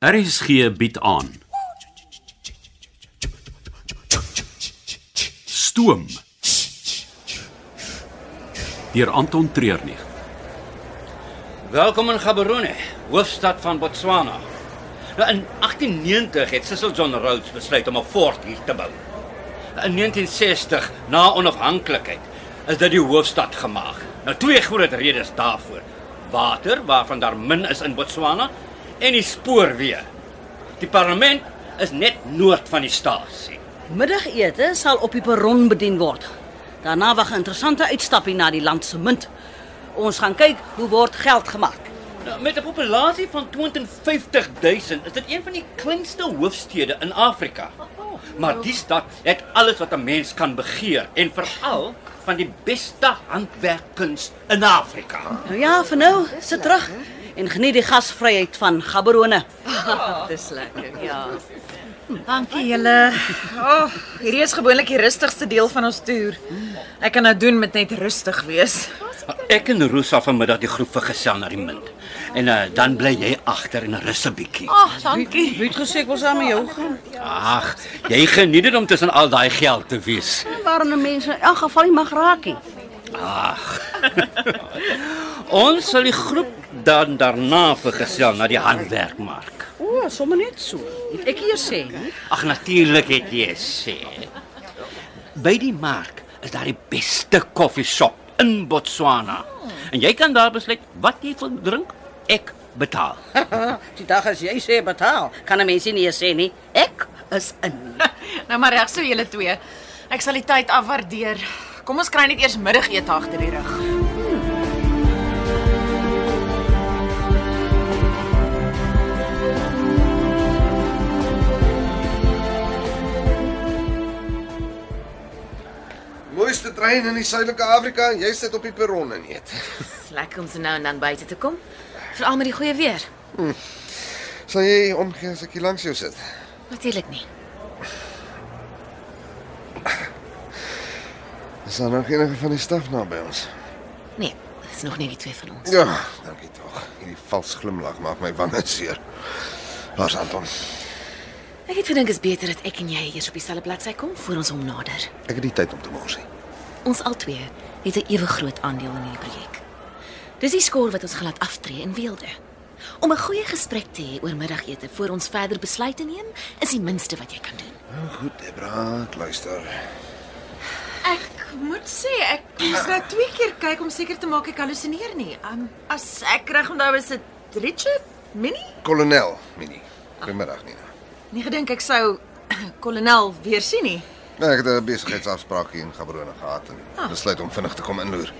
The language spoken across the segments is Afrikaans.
RSG bied aan. Stoom. Deur Anton Treurnig. Welkom in Gaborone, hoofstad van Botswana. Nou in 1890 het Cecil John Rhodes besluit om 'n fort hier te bou. In 1960, na onafhanklikheid, is dit die hoofstad gemaak. Nou twee groot redes daarvoor: water, waarvan daar min is in Botswana, en die spoorweë. Die parlement is net noord van die stasie. Middagete sal op die perron bedien word. Daarna wag 'n interessante uitstappie na die land se munt. Ons gaan kyk hoe word geld gemaak. Nou, met 'n populasie van 250.000 is dit een van die kleinste hoofstede in Afrika. Maar die stad het alles wat 'n mens kan begeer en veral van die beste handwerkkuns in Afrika. Nou ja, vir nou sit terug en geniet die gasvryheid van Gaborone. Dis lekker. Ja. Dankie julle. O, oh, hierdie is gewoonlik die rustigste deel van ons toer. Ek kan nou doen met net rustig wees. Ek en Rosa vanmiddag die groep vergesel na die munt. En uh, dan bly jy agter en rus 'n bietjie. Ag, oh, dankie. Wie het gesê ek wil saam met jou gaan? Ag, jy geniet dit om tussen al daai geld te wees. Warme nou mense in elk geval nie mag raak nie. Ons sal die groep dan daarna vergesel na die handwerkmark. O, sommer net so. Het ek eers sê, nie? Ag natuurlik het jy sê. By die mark is daar die beste koffieshop in Botswana. En jy kan daar besluit wat jy wil drink. Ek betaal. Die dag as jy sê betaal, kan 'n mens nie eers sê nie. Ek is in. Nou maar reg so julle twee. Ek sal die tyd afwaardeer. Kom ons kry net eers middagete agter die rug. Mooiste trein in die Suidelike Afrika en jy sit op die perron en eet. Dis lekker om so nou en dan buite te kom. Veral met die goeie weer. Sal jy omgee as ek hier langs jou sit? Natuurlik nie. Is daar nog enige van die staf naby ons? Nee, dis nog nie die twee van ons. Ja, dankie tog. Hierdie vals glimlag maak my wange seer. Waar's Anton? Ek het gedink is beter dat ek en jy eers op dieselfde bladsy kom voor ons hom nader. Ek het nie tyd om te mors nie. Ons albei het 'n ewe groot aandeel in hierdie projek. Dis die skoor wat ons gelaat aftree in Weelde. Om 'n goeie gesprek te hê oor middagete voor ons verder besluit te neem, is die minste wat jy kan doen. Nou goed, Debra, ek luister. Ek moet sê ek moes nou twee keer kyk om seker te maak ek hallusineer nie. Um, as ek reg onthou is dit Richard Minnie. Kolonel Minnie. Goeiemiddag Nina. Nie gedink ek sou kolonel weer sien nie. Ek het 'n besigheidsafspraak hier in Gaborone gehad en besluit om vinnig te kom inloer.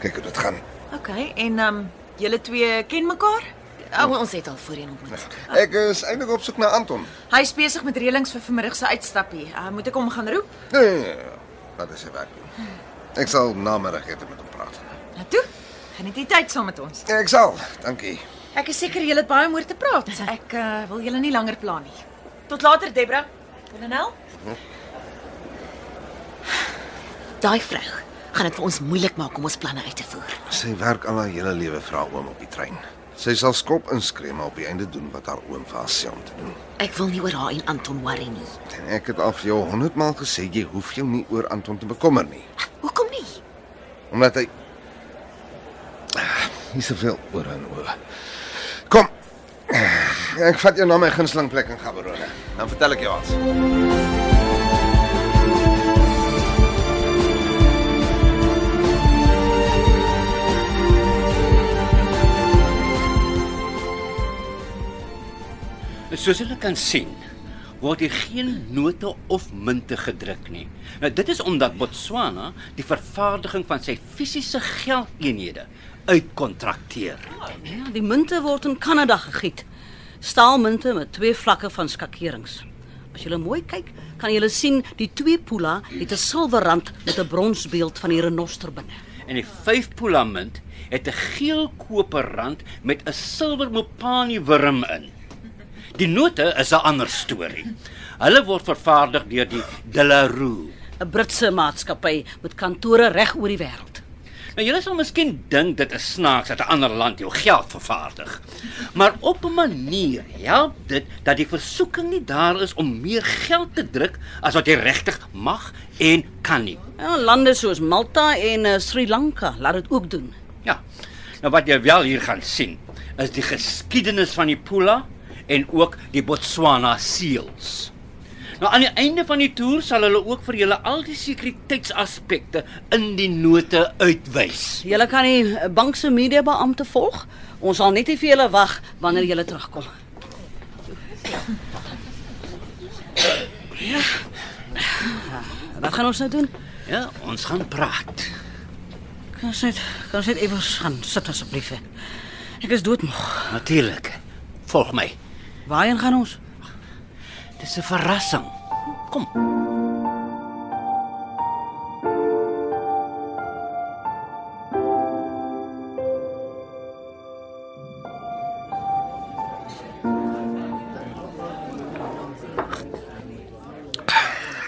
Kyk hoe dit gaan. OK, en ehm um, julle twee ken mekaar? Ou ons het al voorheen ontmoet. Ek is eintlik op soek na Anton. Hy's besig met reëlings vir vanmiddag se uitstappie. Uh, moet ek hom gaan roep? Nee, nee, nee, nee. Wat is sy werk doen? Ek sal namiddag eet en met hom praat. Nou toe. Geniet die tyd saam met ons. Ek sal. Dankie. Ek is seker julle het baie om oor te praat. Ek uh, wil julle nie langer pla nie. Tot later, Debra. Kolonel? Daai vrou gaan dit vir ons moeilik maak om ons planne uit te voer. Sy werk al haar hele lewe vir haar oom op die trein. Sy sal skop inskree maar op die einde doen wat haar oom vir haar sê om te doen. Ek wil nie oor haar en Anton worry nie. En ek het al vir jou 100 maal gesê jy hoef jou nie oor Anton te bekommer nie, Hoekom nie? omdat hy Ah, hier soveel oor en oor. Kom. Ek vat jou na my gunsteling plek in Gaborone. Dan vertel ek jou alles. Soos julle kan sien, word hier geen note of munte gedruk nie. Nou dit is omdat Botswana die vervaardiging van sy fisiese geldeenhede uitkontrakteer. Ja, die munte word in Kanada gegiet. Staalmunte met twee vlakke van skakerings. As jy mooi kyk, kan jy sien die twee pula het 'n silwerrand met 'n bronsbeeld van die renoster binne. En die vyf polament het 'n geel koperrand met 'n silwer mopani wurm in. Die note is 'n ander storie. Hulle word vervaardig deur die Delarue. 'n Britse maatskappy met kantore reg oor die wêreld. Nou julle sal miskien dink dit is snaaks dat 'n ander land jou geld vervaardig. Maar op 'n manier help dit dat die versoeking nie daar is om meer geld te druk as wat jy regtig mag en kan nie. Ja, lande soos Malta en eh, Sri Lanka laat dit ook doen. Ja. Nou wat jy wel hier gaan sien is die geskiedenis van die Pula en ook die Botswana seals. Nou aan die einde van die toer sal hulle ook vir julle al die sekuriteitsaspekte in die note uitwys. Julle kan die eh, bank se media beampte volg. Ons sal net nie vir julle wag wanneer julle terugkom. Ja. Wat gaan ons nou doen? Ja, ons gaan praat. Kan ons net kan ons net ewe gaan sit asseblief. hè? Ek is doodmoeg. Natuurlik. Volg my. Waarheen gaan ons? Dis 'n verrassing. Kom.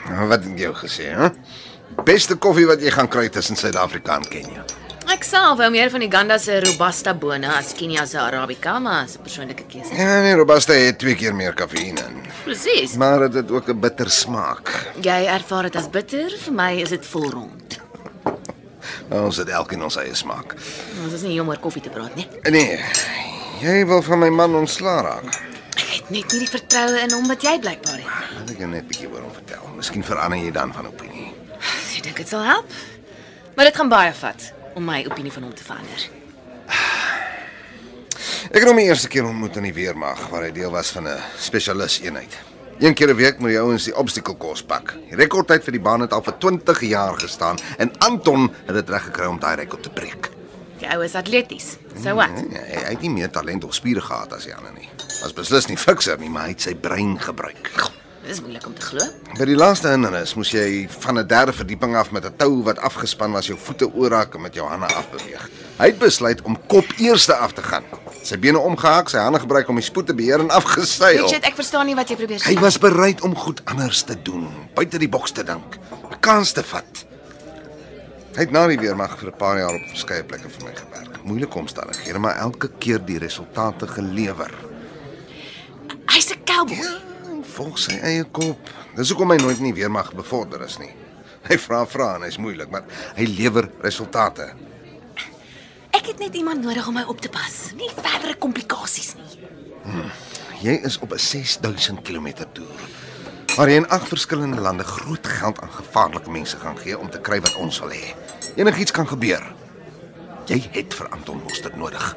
Nou, Wat het jy gesê, hè? Beste koffie wat jy gaan kry tussen Suid-Afrika en Kenja. Ek self hou meer van Uganda se robusta bone nou, as Kenia se arabica, maar as 'n persoonlike keuse. Ja, nee, robusta het twee keer meer kafeïne in. Presies. Maar dit het ook 'n bitter smaak. Jy ervaar dit as bitter, vir my is dit vol rond. Ons het elkeen ons eie smaak. Ons is nie hier om oor koffie te praat nie. Nee. Jy wil van my man ontslaa raak. Ek het net nie die vertroue in hom wat jy blykbaar het. Laat ek jou net 'n bietjie oor hom vertel. Miskien verander jy dan van opinie. Ek dink dit sal help. Maar dit gaan baie vat om my opinie van hom te verander. Ek het hom die eerste keer ontmoet in die weermag waar hy deel was van 'n spesialis eenheid. Een keer 'n week moet die ouens die obstacle kos pak. Die rekordtyd vir die baan het al vir 20 jaar gestaan en Anton het dit reg gekry om daai rekord te breek. Die ou is atleties. So wat? Nee, hy, hy het nie meer talent of spiere gehad as die ander nie. Was beslis nie fikser nie, maar hy het sy brein gebruik. Dis moeilik om te glo. By die laaste hindernis moes jy van 'n derde verdieping af met 'n tou wat afgespan was jou voete oorak en met jou hande afbeweeg. Hy het besluit om kop eerste af te gaan. Sy bene omgehaak, sy hande gebruik om die spoed te beheer en afgeseil. Richard, ek verstaan nie wat jy probeer Hy sê. was bereid om goed anders te doen, buite die boks te dink, 'n kans te vat. Hy het na die weermag vir 'n paar jaar op verskeie plekke vir my gewerk. Moeilike omstandighede, maar elke keer die resultate gelewer. Hy's 'n cowboy. Volg sy eie kop. Dis hoekom hy nooit in die weermag bevorder is nie. Hy vra vra en hy's moeilik, maar hy lewer resultate. Ek het net iemand nodig om my op te pas. Nie verdere komplikasies nie. Jy is op 'n 6000 km toer. Waar jy in ag verskillende lande groot geld aan gevaarlike mense gaan gee om te kry wat ons wil hê. Enigiets kan gebeur. Jy het vir Anton Mostert nodig.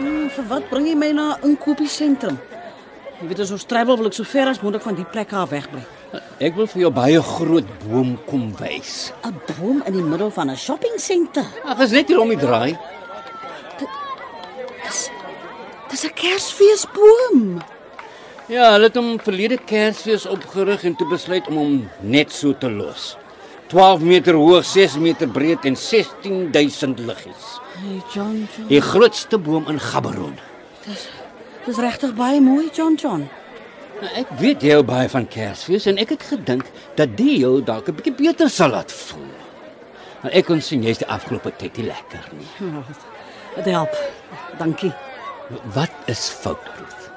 Hmm, vir wat bring jy my na 'n inkopiesentrum? Jy weet as ons travel wil ek so ver as moontlik van die plek af wegbly. Ek wil vir jou baie groot boom kom wys. 'n Boom in die middel van 'n shoppingsenter. Ag, is net hier om die draai. Dis 'n Kersfeesboom. Ja, hulle het hom verlede Kersfees opgerig en toe besluit om hom net so te los. 12 meter hoog, 6 meter breed en 16000 liggies. Hey John John. Die grootste boom in Gaborone. Dis Dis regtig baie mooi John John. Nou, ek weet jy hou baie van Kersfees en ek het gedink dat dit jou dalk 'n bietjie beter sal laat voel. Maar ek kon sien jy's die afgelope tyd nie lekker nie. Ja, Dit dit help. Dankie. Nou, Wat is fout, Ruth?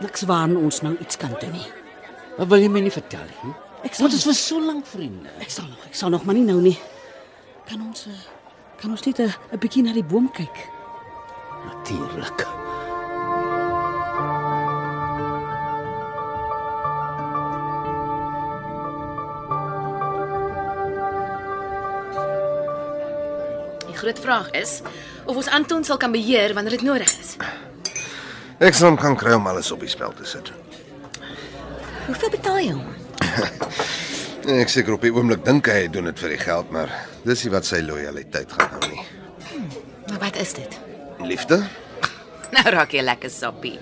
Niks waaraan ons nou iets kan doen nie. Wat wil jy my nie vertel nie? Ek sal Ons is vir so lank vriende. ek sal nog, ek sal nog maar nie nou nie. Kan ons eh, kan ons net 'n 'n bietjie na die boom kyk? Natuurlik. Die groot vraag is of ons Anton sal kan beheer wanneer dit nodig is. Ek sal hom kan kry om alles op die spel te sit. Hoeveel betaal jy hom? Ek seker op die oomblik dink hy doen dit vir die geld, maar dis nie wat sy lojaliteit gaan hou nie. Maar wat is dit? Liefde? Nou raak jy lekker sappie.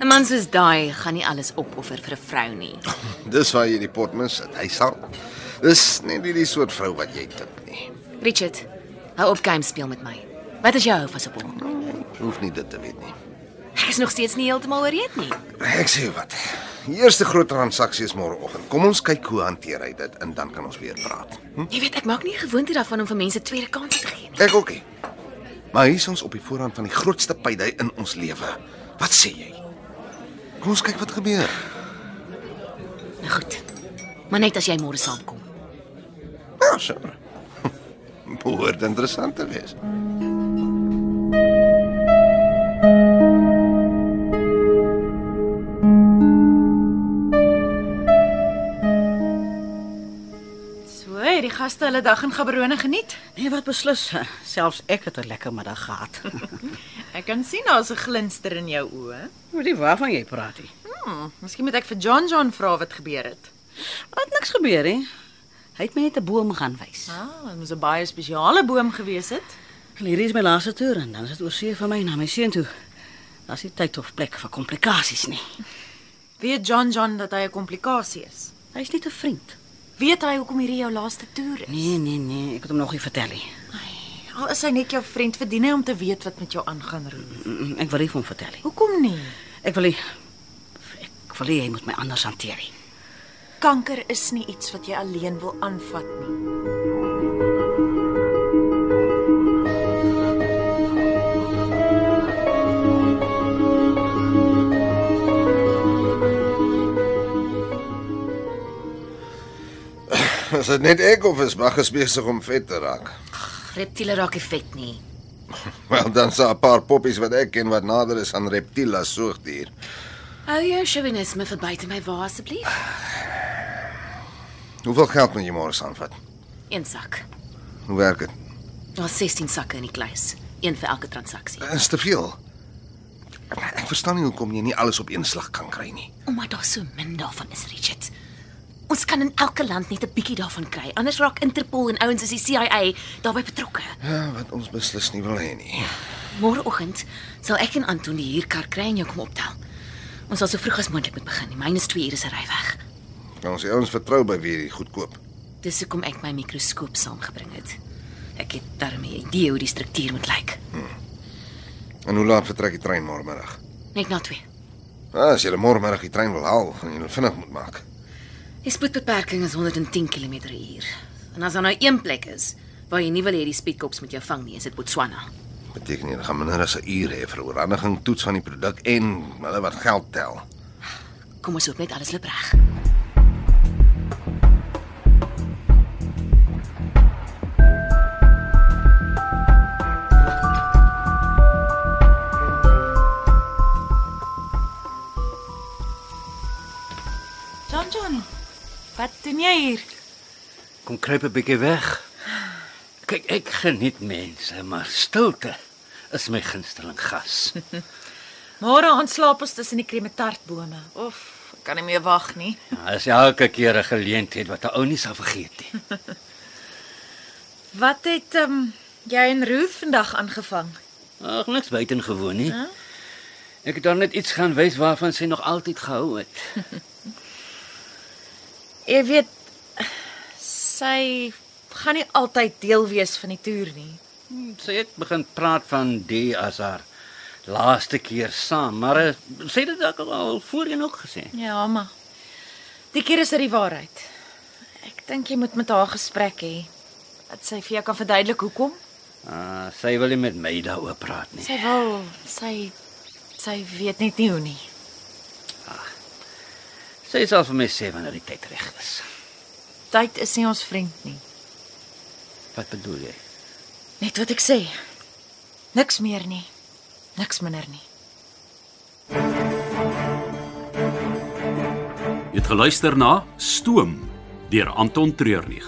'n Man soos daai gaan nie alles opoffer vir 'n vrou nie. Dis waar jy die pot mis sit. Hy sal. Dis nie die, die soort vrou wat jy dink nie. Richard, hou op game speel met my. Wat is jou hou vas op hom? Hoef nie dit te weet nie. Ek is nog steeds nie heeltemal oorreed nie. Ek sê jou wat. Die eerste groot transaksie is môreoggend. Kom ons kyk hoe hanteer hy dit en dan kan ons weer praat. Hm? Jy weet, ek maak nie 'n gewoonte daarvan om vir mense tweede kansse te gee nie. Ek ook nie. Maar hier is ons op die voorrand van die grootste payday in ons lewe. Wat sê jy? Kom ons kyk wat gebeur. Nou goed. Maar net as jy môre saamkom. Ja, seker. Behoort interessant te wees. So, het die gaste hulle dag in Gaborone geniet. Nee, wat beslis. Selfs ek het 'n lekker middag gehad. Ek kan sien daar's 'n glinster in jou oë. Weet nie waarvan jy praat nie. Hmm, miskien moet ek vir John John vra wat gebeur het. Wat niks gebeur hè. Hy het my net 'n boom gaan wys. Ah, dit moes 'n baie spesiale boom gewees het. En hierdie is my laaste toer en dan is dit oor see van my na my seun toe. Daar's nie tyd of plek vir komplikasies nie. Weet John John dat hy 'n komplikasie is? Hy's net 'n vriend. Weet hy hoekom hierdie jou laaste toer is? Nee, nee, nee, ek het hom nog nie vertel nie. Al is hy net jou vriend, verdien hy om te weet wat met jou aangaan, Roel. Mm, mm, Ek wil nie vir hom vertel nie. Hoekom nie? Ek wil nie ek wil nie hy moet my anders hanteer nie. Kanker is nie iets wat jy alleen wil aanvat nie. Is dit net ek of is Mag besig om vet te raak? Reptiele raak nie vet nie. Wel, dan sa 'n paar poppies wat ek ken wat nader is aan reptiele as soogdier. Hou jou chauvinisme verby te my wa asseblief. Hoeveel geld moet jy môre aanvat? Een sak. Hoe werk dit? Daar's 16 sakke in die kluis, een vir elke transaksie. Is te veel. Ek verstaan nie hoekom jy nie alles op een slag kan kry nie. Omdat daar so min daarvan is, Richard. Ons kan in elke land net 'n bietjie daarvan kry. Anders raak Interpol en ouens soos die CIA daarbey betrokke. Ja, wat ons beslis nie wil hê nie. Môreoggend sal ek en Anton die huurkar kry en jou kom optel. Ons sal so vroeg as moontlik moet begin. Die myne is 2 ure se ry weg. Kan ons die ouens vertrou by wie dit goedkoop? Dis hoekom ek my mikroskoop saamgebring het. Ek het daarmee 'n idee hoe die struktuur moet lyk. En hoe laat vertrek die trein môre middag? Net na 2. Ah, as jy môre middag die trein wil haal, gaan jy vinnig moet maak. Die spoedbeperking is 110 km/h. En as daar nou een plek is waar jy nie wil hê die speedkops moet jou vang nie, is dit Botswana. Beteken jy gaan minder as 'n uur hê vir oorhandiging, toets van die produk en hulle wat geld tel. Kom ons hoop net alles loop reg. John John, wat doen jy hier? Kom kruip 'n bietjie weg. Kyk, ek geniet mense, maar stilte is my gunsteling gas. Môre ontslaap ons tussen die kremetartbome. Of kan nie meer wag nie. Ja, dis elke keer 'n geleentheid wat 'n ou nie sal vergeet nie. Wat het ehm um, jy en Ruth vandag aangevang? Ag, niks buitengewoon nie. Ek het dan net iets gaan wys waarvan sy nog altyd gehou het. Jy weet sy gaan nie altyd deel wees van die toer nie. Sy het begin praat van die as haar laaste keer saam, maar eh, sy het dit dalk al- al voorheen ook gesê. Ja, maar die keer is dit die waarheid. Ek dink jy moet met haar gesprek hê. Dat sy vir jou kan verduidelik hoekom. Ah, sy wil nie met my daaroor praat nie. Sy wil, sy sy weet net nie hoe nie. Sy sal vir my sê wanneer die tyd reg is. Tyd is nie ons vriend nie. Wat bedoel jy? Net wat ek sê. Niks meer nie. Niks minder nie. Jy het geluister na Stoom deur Anton Treurnig.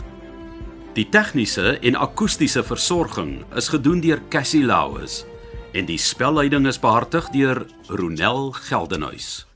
Die tegniese en akoestiese versorging is gedoen deur Cassie Lauis en die spelleiding is behartig deur Ronel Geldenhuys.